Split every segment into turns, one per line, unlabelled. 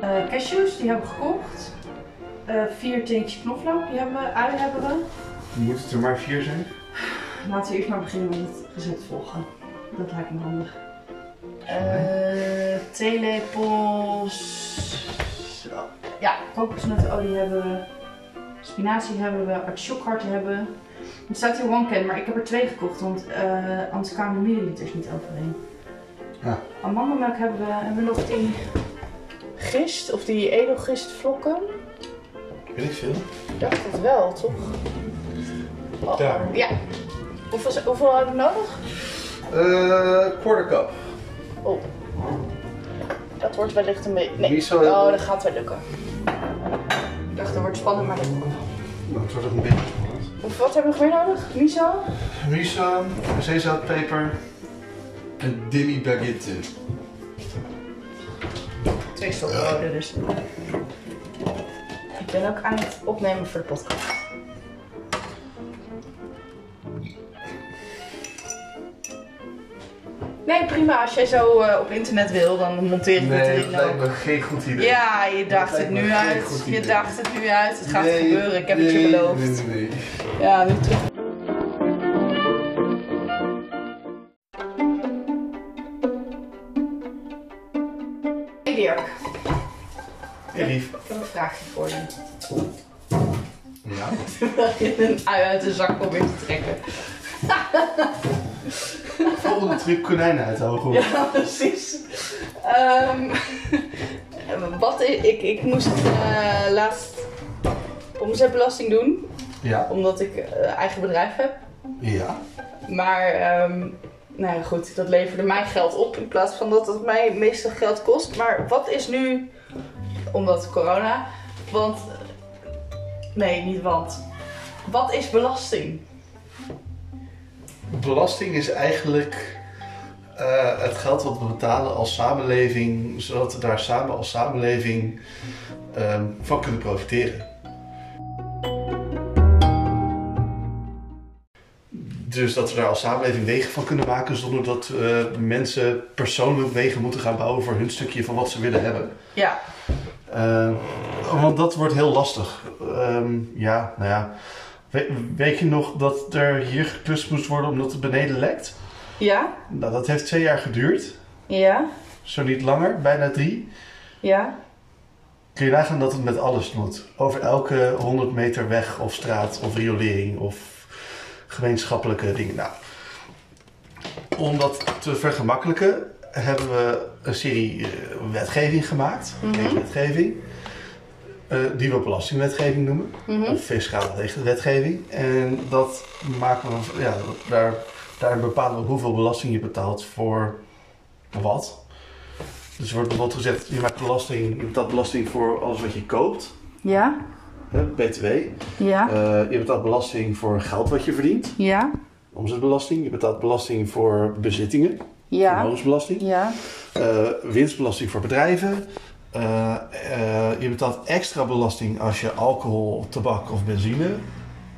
eh, cashews, die hebben we gekocht. Eh, vier teentjes knoflook, die hebben we. Ui hebben we.
Moet het er maar vier zijn?
Laten we eerst maar beginnen met het recept volgen. Dat lijkt me handig. Eh, theelepels. Zo. Ja, kokosnotolie hebben we. Spinazie hebben we. Artichokharten hebben we. Het staat hier one can, maar ik heb er twee gekocht, want eh, anders kwamen de milliliters niet overheen.
Ja.
Amandelmelk hebben we. Hebben we nog die gist, of die edelgistvlokken?
Weet ik veel.
Ik dacht het wel, toch? Oh,
Daar.
Ja. Hoeveel, hoeveel heb ik nodig?
Eh, quarter cup.
Oh. Dat wordt wellicht een beetje... Nee.
Wie zal-
Oh, dat gaat wel lukken. Ik dacht, dat wordt spannend, maar dat komt wel.
Nou, het wordt ook een beetje spannend.
Hoeveel- Wat hebben we nog meer nodig? Miso?
Miso, zeezoutpeper.
Een demi baguette.
Twee stokbroden dus. Ik ben ook aan het opnemen voor de podcast. Nee, prima. Als jij zo eh, op internet wil, dan monteer ik het
Nee,
erin
dat lijkt
ook.
me geen goed idee.
Ja, je dacht
Dat
het
lijkt me
nu
geen
uit.
goed
Je
idee.
dacht het nu uit. Het gaat
Nee,
gebeuren. Ik heb het je
nee,
beloofd.
Nee, nee, nee.
Ja, nu terug. Hey Dirk,
Hey, lief.
ik heb een vraagje voor je.
Ja?
Terwijl je een ui uit de zak probeert te trekken.
Volgende truc konijnen uit de hoge hoed.
Ja, precies. Ehm, wat i- ik, ik moest eh, laatst omzetbelasting doen,
Ja.
omdat ik eh, eigen bedrijf heb.
Ja.
Maar ehm, nou ja, goed, dat leverde mij geld op in plaats van dat het mij meestal geld kost. Maar wat is nu, omdat corona, want... Nee, niet want. Wat is belasting?
Belasting is eigenlijk eh, het geld wat we betalen als samenleving, zodat we daar samen als samenleving ehm, van kunnen profiteren. Dus dat we daar als samenleving wegen van kunnen maken zonder dat eh, mensen persoonlijk wegen moeten gaan bouwen voor hun stukje van wat ze willen hebben.
Ja,
Eh, want dat wordt heel lastig. Ehm, ja, nou ja. We- weet je nog dat er hier geklust moest worden omdat het beneden lekt?
ja,
Nou, dat heeft twee jaar geduurd.
ja,
Zo niet langer, bijna drie.
ja.
Kun je nagaan dat het met alles moet. Over elke 100 meter weg of straat of riolering of gemeenschappelijke dingen. Nou, om dat te vergemakkelijken hebben we een serie eh, wetgeving gemaakt.
Mhm.
Wetgeving. eh, die we belastingwetgeving noemen.
Mhm.
Of fiscale wetgeving. En dat maken we, ja, daar, daar bepalen we hoeveel belasting je betaalt voor wat. Dus er wordt bijvoorbeeld gezegd, je maakt belasting, je betaalt belasting voor alles wat je koopt,
Ja,
hè, btw.
ja,
Eh, je betaalt belasting voor geld wat je verdient,
ja,
omzetbelasting. Je betaalt belasting voor bezittingen,
ja,
vermogensbelasting.
ja,
Eh, winstbelasting voor bedrijven. Eh, eh, je betaalt extra belasting als je alcohol, tabak of benzine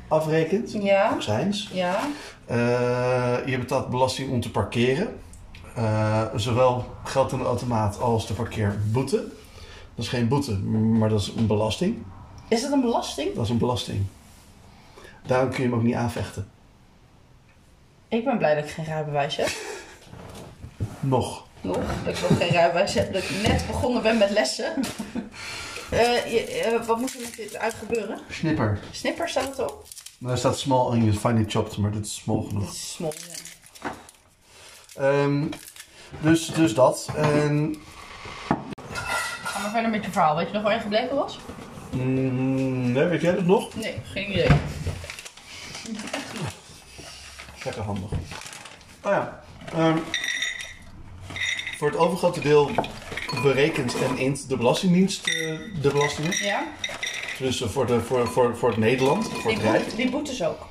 afrekent.
ja,
Accijns.
ja,
Eh, je betaalt belasting om te parkeren. Eh, zowel geld aan de automaat als de parkeerboete. Dat is geen boete, maar dat is een belasting.
Is dat een belasting?
Dat is een belasting. Daarom kun je hem ook niet aanvechten.
Ik ben blij dat ik geen rijbewijs heb.
Nog.
Nog, dat ik nog geen rijbewijs heb. Dat ik net begonnen ben met lessen. Eh, je- eh, wat moet er met dit uitgebeuren?
Snipper.
Snipper staat het op?
Nou, er staat small onions, finely chopped, maar dat is small genoeg.
Dit is smol, ja.
Ehm, dus, dus dat. En
Ga maar verder met je verhaal. Weet je nog waar je gebleven was?
Mm, nee, weet jij dat nog?
Nee, geen idee.
Lekker handig. Oh ja. ehm, voor het overgrote deel berekent en int de Belastingdienst eh, de belastingen.
Ja?
Dus eh, voor, de, voor, voor, voor het Nederland, voor
Die,
het Rijk.
boete, die boetes ook.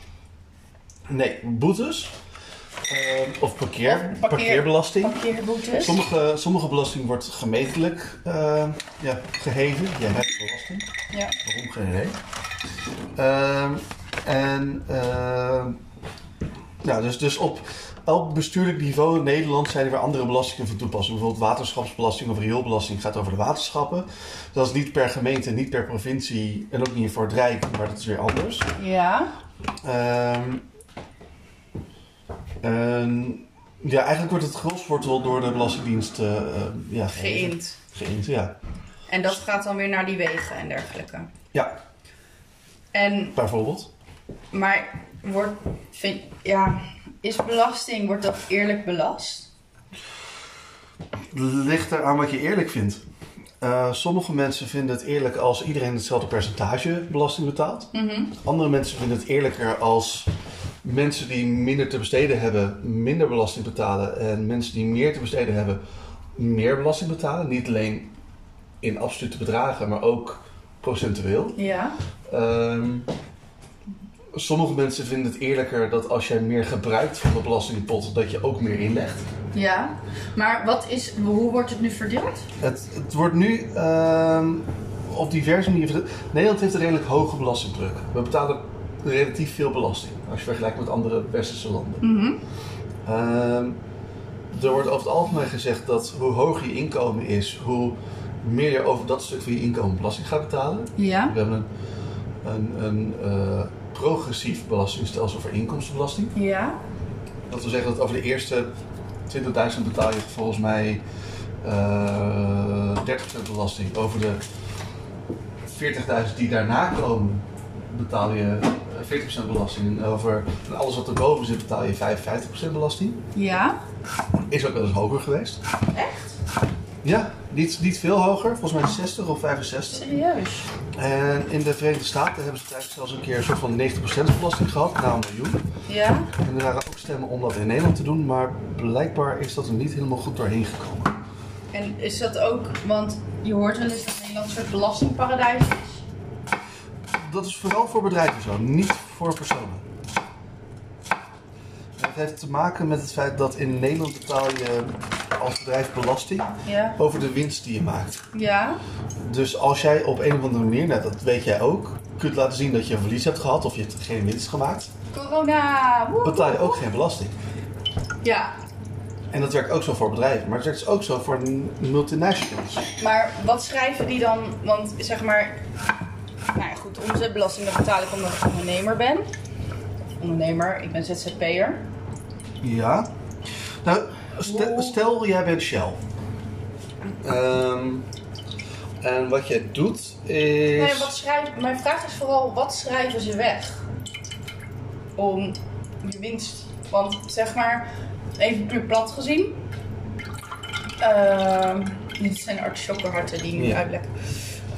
Nee, boetes. ehm, of parkeer,
Of parkeer-
parkeerbelasting.
Parkeerboetes.
Sommige, sommige belasting wordt gemeentelijk eh, ja, geheven. Jij hebt belasting.
Ja.
Waarom geen idee. Ehm, en ehm, Ja, dus, dus op elk bestuurlijk niveau in Nederland zijn er weer andere belastingen van toepassing. Bijvoorbeeld waterschapsbelasting of rioolbelasting gaat over de waterschappen. Dat is niet per gemeente, niet per provincie en ook niet voor het Rijk, maar dat is weer anders.
Ja.
Ehm, ehm, ja, eigenlijk wordt het groswortel door de Belastingdienst eh, eh, ja, gegeven.
geïnd.
Geïnd, ja.
En dat gaat dan weer naar die wegen en dergelijke.
Ja,
En,
bijvoorbeeld.
maar wordt, vind, ja, is belasting, wordt dat eerlijk belast?
ligt eraan wat je eerlijk vindt. Eh, sommige mensen vinden het eerlijk als iedereen hetzelfde percentage belasting betaalt.
Mhm.
Andere mensen vinden het eerlijker als mensen die minder te besteden hebben, minder belasting betalen. En mensen die meer te besteden hebben, meer belasting betalen. Niet alleen in absolute bedragen, maar ook procentueel.
Ja.
Ehm, sommige mensen vinden het eerlijker dat als jij meer gebruikt van de belastingpot, dat je ook meer inlegt.
Ja. Maar wat is, hoe wordt het nu verdeeld?
Het, het wordt nu ehm, op diverse manieren. verdeeld. Nederland heeft een redelijk hoge belastingdruk. We betalen relatief veel belasting als je vergelijkt met andere westerse landen.
Mhm.
Ehm, er wordt over het algemeen gezegd dat hoe hoger je inkomen is, hoe meer je over dat stuk van je inkomen belasting gaat betalen.
Ja.
We hebben een, een, een eh, progressief belastingstelsel voor inkomstenbelasting.
Ja.
Dat wil zeggen dat over de eerste 20.000 betaal je volgens mij eh 30% belasting. Over de 40.000 die daarna komen betaal je eh, 40% belasting. En over en alles wat erboven zit betaal je 55% belasting.
Ja.
Is ook wel eens hoger geweest.
Echt?
Ja, niet, niet veel hoger. Volgens mij 60 of 65.
Serieus?
En in de Verenigde Staten hebben ze tijdens zelfs een keer een soort van 90% belasting gehad. Na een miljoen.
Ja.
En er waren ook stemmen om dat in Nederland te doen, maar blijkbaar is dat er niet helemaal goed doorheen gekomen.
En is dat ook, want je hoort wel eens dat Nederland een soort belastingparadijs is.
Dat is vooral voor bedrijven zo, niet voor personen. Het heeft te maken met het feit dat in Nederland betaal je als bedrijf belasting
Ja.
over de winst die je maakt.
Ja.
Dus als jij op een of andere manier, nou, dat weet jij ook, kunt laten zien dat je een verlies hebt gehad of je hebt geen winst gemaakt,
Corona. woe.
betaal je ook geen belasting.
Ja.
En dat werkt ook zo voor bedrijven, maar het werkt ook zo voor multinationals.
Maar wat schrijven die dan? Want zeg maar, nou ja, goed, omzetbelasting dat betaal ik omdat ik ondernemer ben. Of Ondernemer, ik ben ZZP'er.
Ja. Nou, ste-
Wow.
stel jij bent Shell. Ehm, en wat jij doet is.
Nee, wat schrijf, mijn vraag is vooral, wat schrijven ze weg? Om je winst. Want zeg maar, even puur plat gezien. Ehm, dit zijn artichokkenharten die ik nu
Ja.
uitlekken.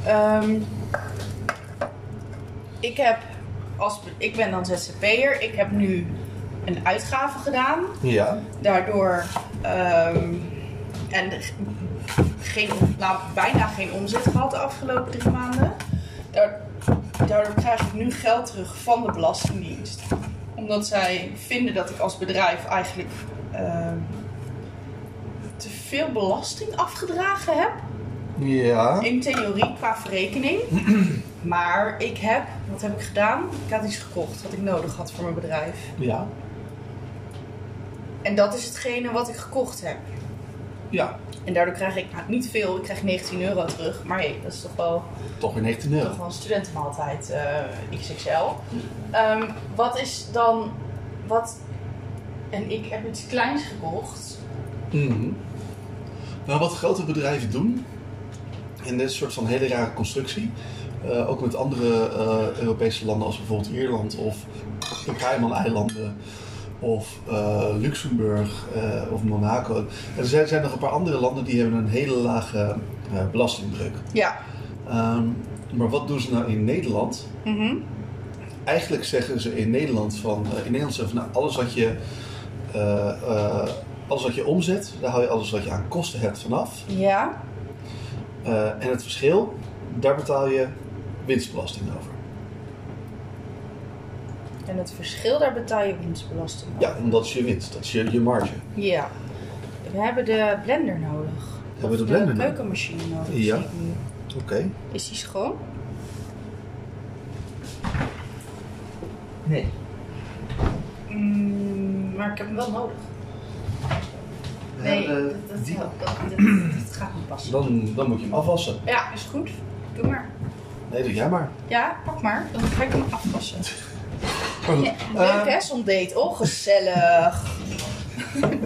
Ehm, ik heb, als, ik ben dan ZZP'er. Ik heb nu een uitgave gedaan
Ja.
daardoor ehm, en ge- geen, nou, bijna geen omzet gehad de afgelopen drie maanden. Daar- daardoor krijg ik nu geld terug van de Belastingdienst. Omdat zij vinden dat ik als bedrijf eigenlijk ehm, te veel belasting afgedragen heb.
Ja.
In theorie qua verrekening. Maar ik heb, wat heb ik gedaan? Ik had iets gekocht wat ik nodig had voor mijn bedrijf.
Ja.
En dat is hetgene wat ik gekocht heb.
Ja.
En daardoor krijg ik nou, niet veel, ik krijg 19 euro terug. Maar hey, dat is toch wel,
Toch weer 19 euro.
toch wel een studentenmaaltijd eh, XXL. Ehm, wat is dan. Wat, en ik heb iets kleins gekocht.
Mhm. Nou, wat grote bedrijven doen, in dit soort van hele rare constructie, eh, ook met andere eh, Europese landen als bijvoorbeeld Ierland of de Cayman-eilanden of eh, Luxemburg eh, of Monaco. En er zijn, zijn nog een paar andere landen die hebben een hele lage eh, belastingdruk.
Ja.
Ehm, maar wat doen ze nou in Nederland?
Mhm.
eigenlijk zeggen ze in Nederland van eh, in Nederland zeggen van nou, alles wat je eh, eh, alles wat je omzet, daar hou je alles wat je aan kosten hebt vanaf.
Ja.
Eh, en het verschil, daar betaal je winstbelasting over.
En het verschil, daar betaal je winstbelasting op.
Ja, omdat is je winst, dat is je, je marge.
Ja. We hebben de blender nodig.
Hebben we de blender
De
nodig?
keukenmachine nodig.
Ja.
zie ik nu.
Oké.
Is die schoon?
Nee.
Mm, maar ik heb hem wel nodig.
We
Nee,
hebben
dat, dat,
die-
dat, dat- dat- dat gaat niet passen.
Dan, dan moet je hem afwassen.
Ja, is goed. Doe maar.
Nee, doe jij maar.
Ja, pak maar. Dan ga ik hem afpassen.
Pardon.
Ja,
Eh,
leuk hè, zo'n date. Oh, gezellig.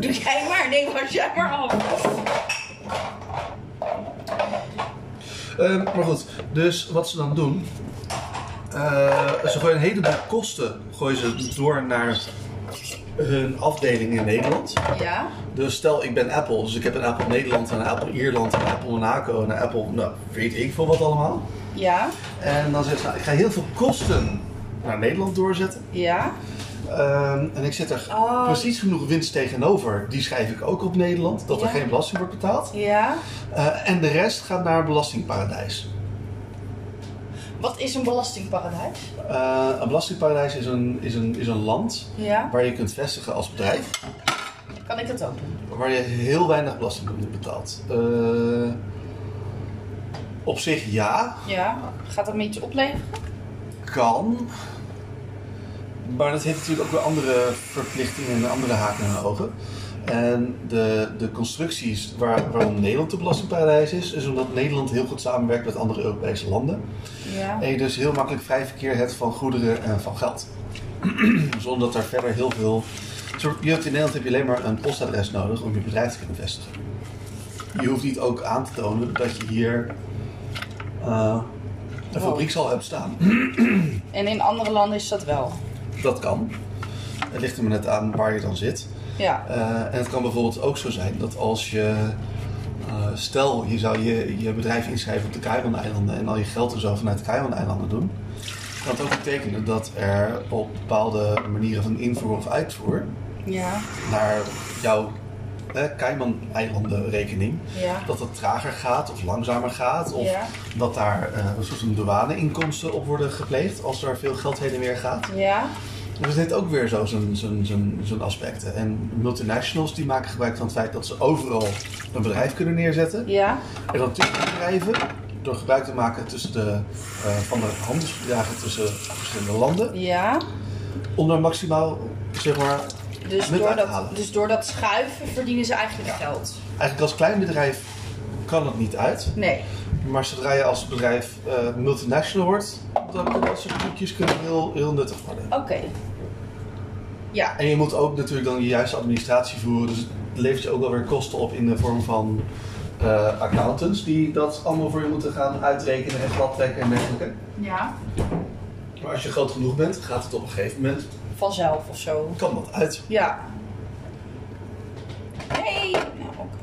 Doe jij maar. Nee, was jij maar af.
Ehm, maar goed, dus wat ze dan doen. eh, ze gooien een heleboel kosten gooien ze door naar hun afdeling in Nederland.
Ja,
Dus stel, ik ben Apple. Dus ik heb een Apple Nederland, en een Apple Ierland, een Apple Monaco, en een Apple, nou, weet ik veel wat allemaal.
ja,
En dan zegt ze, nou, ik ga heel veel kosten naar Nederland doorzetten.
ja.
Ehm, en ik zit er
Oh.
precies genoeg winst tegenover. Die schrijf ik ook op Nederland, dat er
Ja.
geen belasting wordt betaald.
Ja.
Eh, en de rest gaat naar een belastingparadijs.
Wat is een belastingparadijs?
Eh, een belastingparadijs is een, is, een, is een land
Ja.
waar je kunt vestigen als bedrijf,
Kan ik dat ook doen?
waar je heel weinig belasting op betaalt. Eh, op zich ja,
Ja. Gaat dat me iets opleveren?
kan. Maar dat heeft natuurlijk ook weer andere verplichtingen en andere haken en ogen. En de, de constructies waar, waarom Nederland een belastingparadijs is, is omdat Nederland heel goed samenwerkt met andere Europese landen.
Ja.
En je dus heel makkelijk vrij verkeer hebt van goederen en van geld. Zonder dat er verder heel veel. Zo- Je hebt in Nederland heb je alleen maar een postadres nodig om je bedrijf te kunnen vestigen. Je hoeft niet ook aan te tonen dat je hier eh, een
Wow.
fabriek zal hebben staan.
En in andere landen is dat wel.
Dat kan. Het ligt er maar net aan waar je dan zit.
Ja.
Eh, en het kan bijvoorbeeld ook zo zijn dat als je. eh, stel, je zou je, je bedrijf inschrijven op de Cayman-eilanden en al je geld en zo vanuit de Cayman-eilanden doen. Kan het ook betekenen dat er op bepaalde manieren van invoer of uitvoer
Ja.
naar jouw eh, Cayman-eilanden-rekening,
Ja.
dat het trager gaat of langzamer gaat. Of
Ja.
dat daar eh, een soort van douane-inkomsten op worden gepleegd als er veel geld heen en weer gaat.
Ja.
Dus het heeft ook weer zo zijn, zijn, zijn, zijn aspecten. En multinationals die maken gebruik van het feit dat ze overal een bedrijf kunnen neerzetten.
Ja.
En dan tussen die bedrijven, door gebruik te maken tussen de, eh, van de handelsverdragen tussen verschillende landen,
Ja.
om daar maximaal, zeg maar,
Dus
Met
door, dat,
uithalen.
dus door dat schuiven verdienen ze eigenlijk geld.
eigenlijk als klein bedrijf kan het niet uit.
Nee.
Maar zodra je als bedrijf eh, multinational wordt, dan kunnen dat soort trucjes kunnen heel, heel nuttig worden.
Oké. Ja.
En je moet ook natuurlijk dan je juiste administratie voeren. Dus het levert je ook wel weer kosten op in de vorm van eh, accountants die dat allemaal voor je moeten gaan uitrekenen en gladtrekken en dergelijke.
Ja.
Maar als je groot genoeg bent, gaat het op een gegeven moment,
Vanzelf of zo.
kan dat uit.
Ja. Hey. Nou, oké.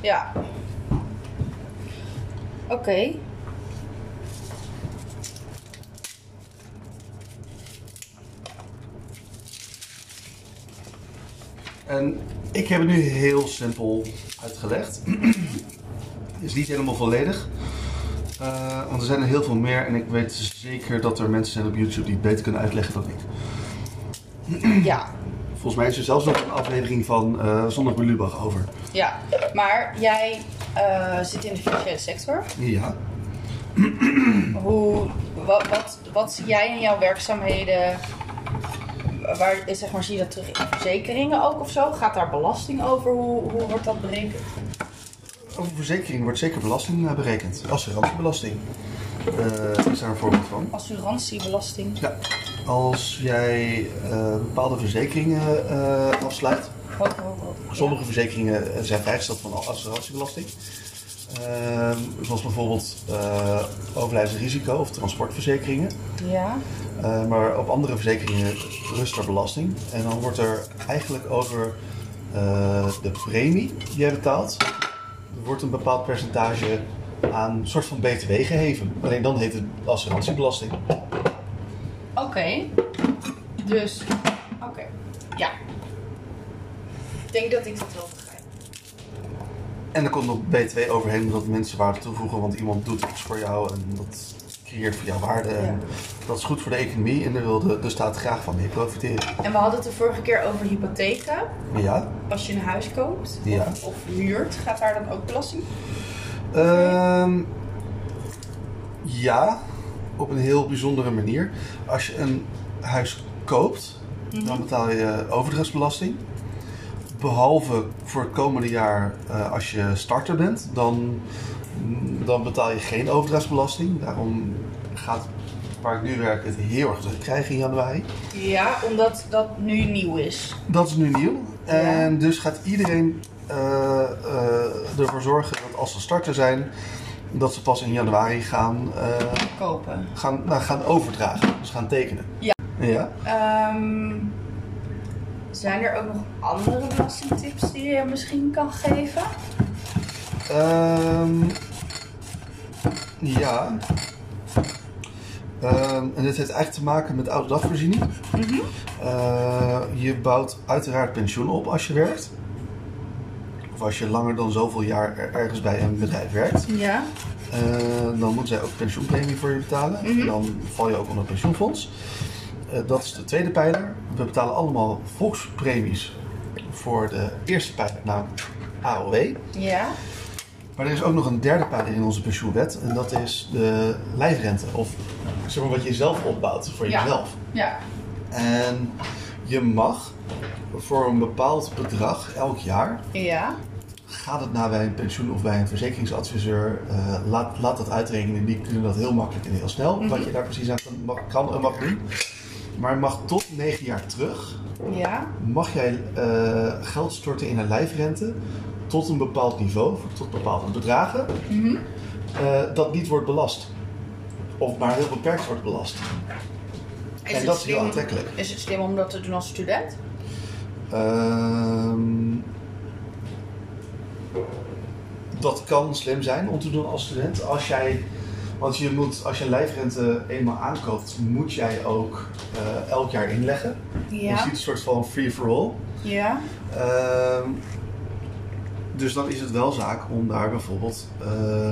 Ja. Oké.
En ik heb het nu heel simpel uitgelegd. Is niet helemaal volledig. Eh, want er zijn er heel veel meer en ik weet zeker dat er mensen zijn op YouTube die het beter kunnen uitleggen dan ik.
Ja.
Volgens mij is er zelfs nog een aflevering van eh Zondag bij Lubach over.
Ja. Maar jij eh, zit in de financiële sector.
Ja.
Hoe, wat, wat, wat zie jij in jouw werkzaamheden? Waar, zeg maar, zie je dat terug in verzekeringen ook of zo? Gaat daar belasting over? Hoe, hoe wordt dat berekend?
Over verzekering wordt zeker belasting eh, berekend. Assurantiebelasting eh, is daar een voorbeeld van.
Assurantiebelasting.
Ja, als jij eh, bepaalde verzekeringen eh, afsluit.
Ho, ho, ho.
Sommige verzekeringen eh, zijn vrijgesteld van assurantiebelasting. Ehm, zoals bijvoorbeeld eh overlijdensrisico of transportverzekeringen.
Ja.
Eh, maar op andere verzekeringen rust er belasting. En dan wordt er eigenlijk over eh, de premie die jij betaalt, er wordt een bepaald percentage aan een soort van BTW geheven. Alleen dan heet het assurantiebelasting.
Oké. Dus. Oké. Ja. Ik denk dat ik dat wel begrijp.
En er komt nog BTW overheen omdat mensen waarde toevoegen, want iemand doet iets voor jou en dat creëert voor jou waarde. En dat is goed voor de economie en daar wil de, de staat graag van mee profiteren.
En we hadden het de vorige keer over hypotheken.
Maar ja,
Als je een huis koopt
ja.
of huurt, gaat daar dan ook belasting?
Ehm ja, op een heel bijzondere manier. Als je een huis koopt, Dan betaal je overdrachtsbelasting. Behalve voor het komende jaar eh, als je starter bent, dan, dan betaal je geen overdrachtsbelasting. Daarom gaat waar ik nu werk het heel erg druk krijgen in januari.
Ja, omdat dat nu nieuw is.
Dat is nu nieuw. En dus gaat iedereen eh, eh, ervoor zorgen dat als ze starter zijn, dat ze pas in januari gaan, eh,
Kopen.
gaan, nou, gaan overdragen. Dus gaan tekenen.
Ja.
Ja?
Ehm, zijn er ook nog andere belastingtips die je misschien kan geven?
Ehm, ja. Ehm, en dit heeft eigenlijk te maken met oude dagvoorziening.
Mhm.
Eh, je bouwt uiteraard pensioen op als je werkt. Of als je langer dan zoveel jaar er- ergens bij een bedrijf werkt.
Ja.
Eh, dan moeten zij ook pensioenpremie voor je betalen. En dan val je ook onder het pensioenfonds. Eh, dat is de tweede pijler. We betalen allemaal volkspremies voor de eerste pijler, namelijk AOW.
Ja.
Maar er is ook nog een derde pijler in onze pensioenwet. En dat is de lijfrente. Of zeg maar wat je zelf opbouwt voor
Ja.
jezelf.
Ja.
En je mag voor een bepaald bedrag elk jaar.
Ja.
Gaat het naar bij een pensioen of bij een verzekeringsadviseur? eh, laat, laat dat uitrekenen. Die kunnen dat heel makkelijk en heel snel. Wat
Mhm.
je daar precies aan kan- mag- kan en mag doen. Maar je mag tot negen jaar terug.
Ja.
Mag jij eh, geld storten in een lijfrente. Tot een bepaald niveau. Tot bepaalde bedragen.
Mhm.
eh, dat niet wordt belast. Of maar heel beperkt wordt belast.
Is
en
het
dat is heel
slim-
aantrekkelijk.
Is het slim om dat te doen als student?
Ehm, dat kan slim zijn om te doen als student. Als jij, want je moet, als je een lijfrente eenmaal aankoopt, moet jij ook eh, elk jaar inleggen. Dus
Ja.
iets soort van free-for-all.
Ja.
Ehm, dus dan is het wel zaak om daar bijvoorbeeld eh,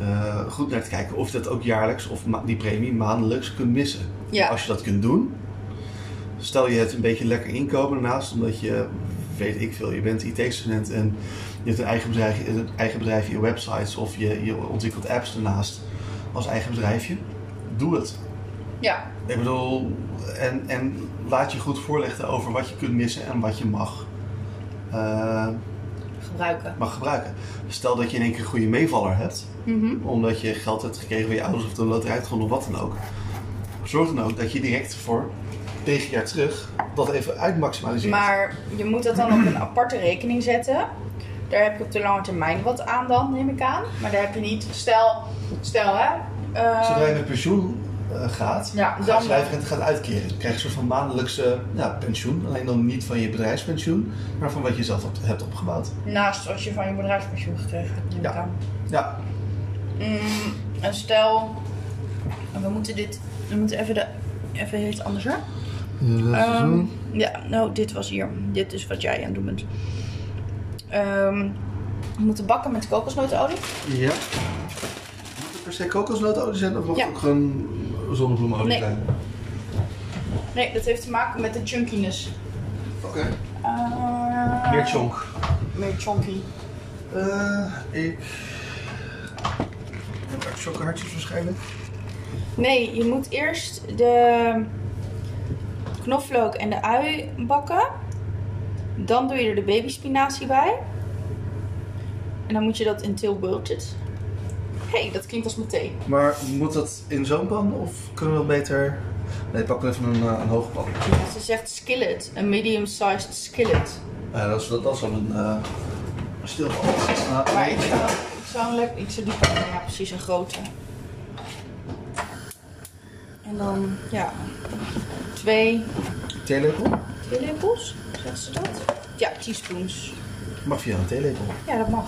eh, goed naar te kijken of je dat ook jaarlijks of ma- die premie maandelijks kunt missen.
Ja.
Als je dat kunt doen, stel je het een beetje lekker inkomen daarnaast, omdat je, weet ik veel, je bent IT-student en je hebt een eigen bedrijf, een eigen bedrijf je websites of je, je ontwikkelt apps daarnaast als eigen bedrijfje. Doe het.
Ja.
Ik bedoel, en, en laat je goed voorlichten over wat je kunt missen en wat je mag, eh,
Gebruiken.
mag gebruiken. Stel dat je in één keer een goede meevaller hebt,
Mhm.
omdat je geld hebt gekregen van je ouders of de loterij hebt gewonnen of wat dan ook. Zorg dan ook dat je direct voor tegen jaar terug dat even uitmaximaliseert.
Maar je moet dat dan op een aparte rekening zetten. Daar heb je op de lange termijn wat aan dan, neem ik aan. Maar daar heb je niet, stel, stel hè. eh,
Zodra je met pensioen eh, gaat,
Ja,
gaat
dan-
je lijfrente gaat uitkeren. Dan krijg je een soort van maandelijkse ja, pensioen. Alleen dan niet van je bedrijfspensioen, maar van wat je zelf hebt- hebt opgebouwd.
naast als je van je bedrijfspensioen gekregen hebt, neem ik
Ja.
aan.
Ja,
Mm, en stel, we moeten dit, we moeten even de, even iets anders hè? Ehm, ja, nou, dit was hier. Dit is wat jij aan het doen bent. Ehm, we moeten bakken met kokosnootolie.
Ja. Moet er per se kokosnootolie zijn of mag
Ja.
het ook gewoon zonnebloemolie
Nee.
zijn?
Nee, dat heeft te maken met de chunkiness.
Oké.
Eh,
Meer chonk.
Meer chonky.
Eh, ik... heb er Chocohartjes waarschijnlijk.
Nee, je moet eerst de knoflook en de ui bakken. Dan doe je er de babyspinazie bij. En dan moet je dat in tilbulted. Hé, hey, dat klinkt als mijn thee.
Maar moet dat in zo'n pan of kunnen we dat beter... Nee, pak even een, eh, een hoge pan.
Ja, ze zegt skillet, een medium-sized skillet.
Eh, dat, is, dat, dat is wel een eh stil pan. Ah,
Maar ik zou, ik zou een lekker, ik zou die pakken, ja precies, een grote. En dan, ja, twee,
Theelepel?
twee lepels, zegt ze dat? Ja, teaspoons.
Mag via een theelepel.
Ja, dat mag.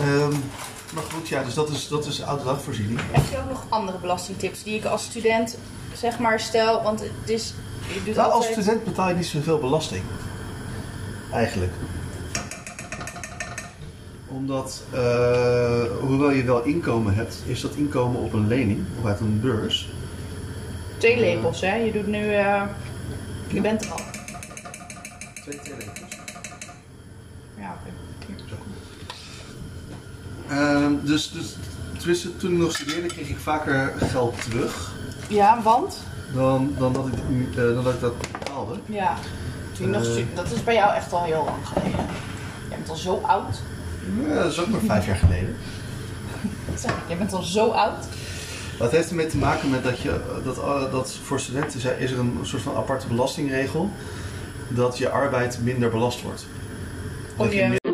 Ehm, maar goed, ja, dus dat is, dat is oude dagvoorziening.
Heb je ook nog andere belastingtips die ik als student zeg maar stel? Want het is. Je doet
Nou, als
altijd...
student betaal je niet zoveel belasting. Eigenlijk. Omdat, eh, hoewel je wel inkomen hebt, is dat inkomen op een lening of uit een beurs.
Twee lepels, hè? Je doet nu. eh, Je bent er al.
Twee theelepels.
Ja, oké.
Ehm, dus, dus tenminste, toen ik nog studeerde, kreeg ik vaker geld terug.
ja, want?
dan, dan, dat, ik, eh, dan dat ik dat betaalde.
Ja. Toen je nog
Eh.
stu- dat is bij jou echt al heel lang geleden. Jij bent al zo oud.
Ja, dat is ook maar vijf jaar geleden.
Zeg, jij bent al zo oud.
Dat heeft ermee te maken met dat, je, dat, eh, dat voor studenten zei- is er een soort van aparte belastingregel. Dat je arbeid minder belast wordt.
Om
Dat je
je,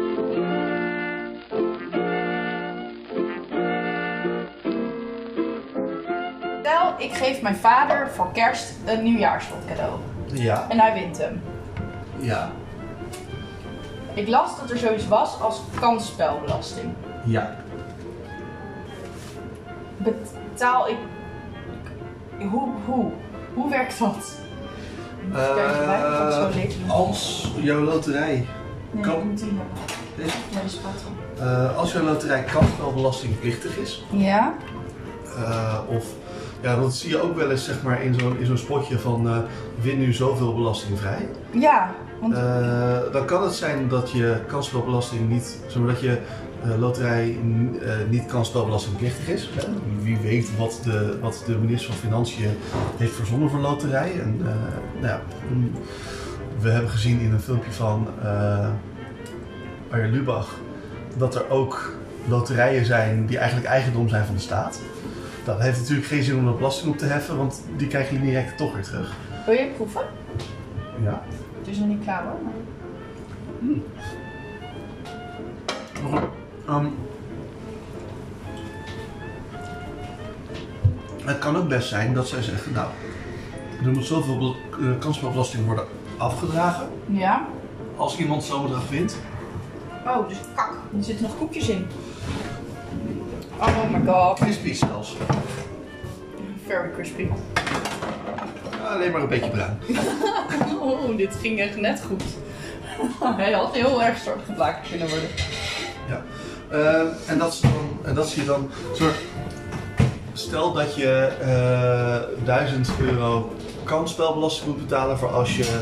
stel, ik geef mijn vader voor kerst een nieuwjaarsrond cadeau.
Ja.
En hij wint hem.
Ja.
Ik las dat er zoiets was als kansspelbelasting.
Ja.
Betaal ik. Hoe, hoe? Hoe werkt dat? Kijk, je mij dat zo leuk.
Eh, als jouw loterij
Nee,
Kan-
ik moet die hebben.
Deze?
Ja, die spat wel.
Eh, als jouw loterij kansspelbelastingplichtig is,
Ja?
eh, of ja, dat zie je ook wel eens zeg maar, in zo'n in zo'n spotje van eh, win nu zoveel belastingvrij.
Ja, want
Eh, dan kan het zijn dat je kansspelbelasting niet, zeg maar, dat je eh, loterij n- eh, niet kansspelbelastingplichtig is. Hè? Wie weet wat de, wat de minister van Financiën heeft verzonnen voor loterij. En, eh, nou ja, mm, we hebben gezien in een filmpje van eh Arjen Lubach dat er ook loterijen zijn die eigenlijk eigendom zijn van de staat. Nou, Dat heeft natuurlijk geen zin om de belasting op te heffen, want die krijg je direct toch weer terug.
wil je proeven?
Ja.
Het is nog niet klaar hoor. maar-
Ehm, het kan ook best zijn dat zij zeggen, nou, er moet zoveel bel- eh, kansspelbelasting worden afgedragen.
Ja?
Als iemand zo'n bedrag wint,
Oh, dus kak. Er zitten nog koekjes in. Oh my god.
crispy zelfs.
Very crispy.
Alleen maar een beetje bruin.
Oh, dit ging echt net goed. Hij had heel erg stort geplaatst kunnen worden.
Ja. Eh, en, dat is dan, en dat zie je dan. soort- stel dat je eh 1000 euro kansspelbelasting moet betalen voor als je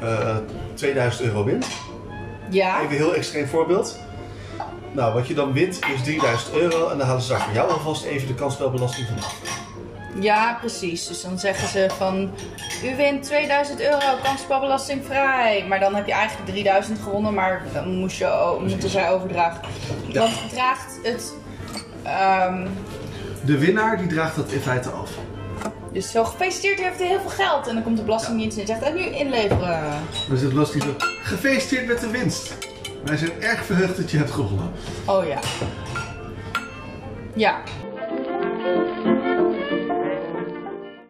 eh, 2000 euro wint.
Ja.
Even een heel extreem voorbeeld. Nou, wat je dan wint is 3000 euro en dan halen ze daar voor jou alvast even de kansspelbelasting van af.
Ja, precies. Dus dan zeggen ze van, u wint 2000 euro, kansspelbelasting vrij. Maar dan heb je eigenlijk 3000 gewonnen, maar dan moest je, o- moeten zij overdragen.
Ja.
Dan draagt het, ehm,
De winnaar die draagt dat in feite af.
dus zo gefeliciteerd, u heeft heel veel geld. En dan komt de belastingdienst en zegt, en nu inleveren.
Dan zit Last Dus die zo, gefeliciteerd met de winst. Wij zijn erg verheugd dat je hebt gewonnen.
Oh ja. Ja.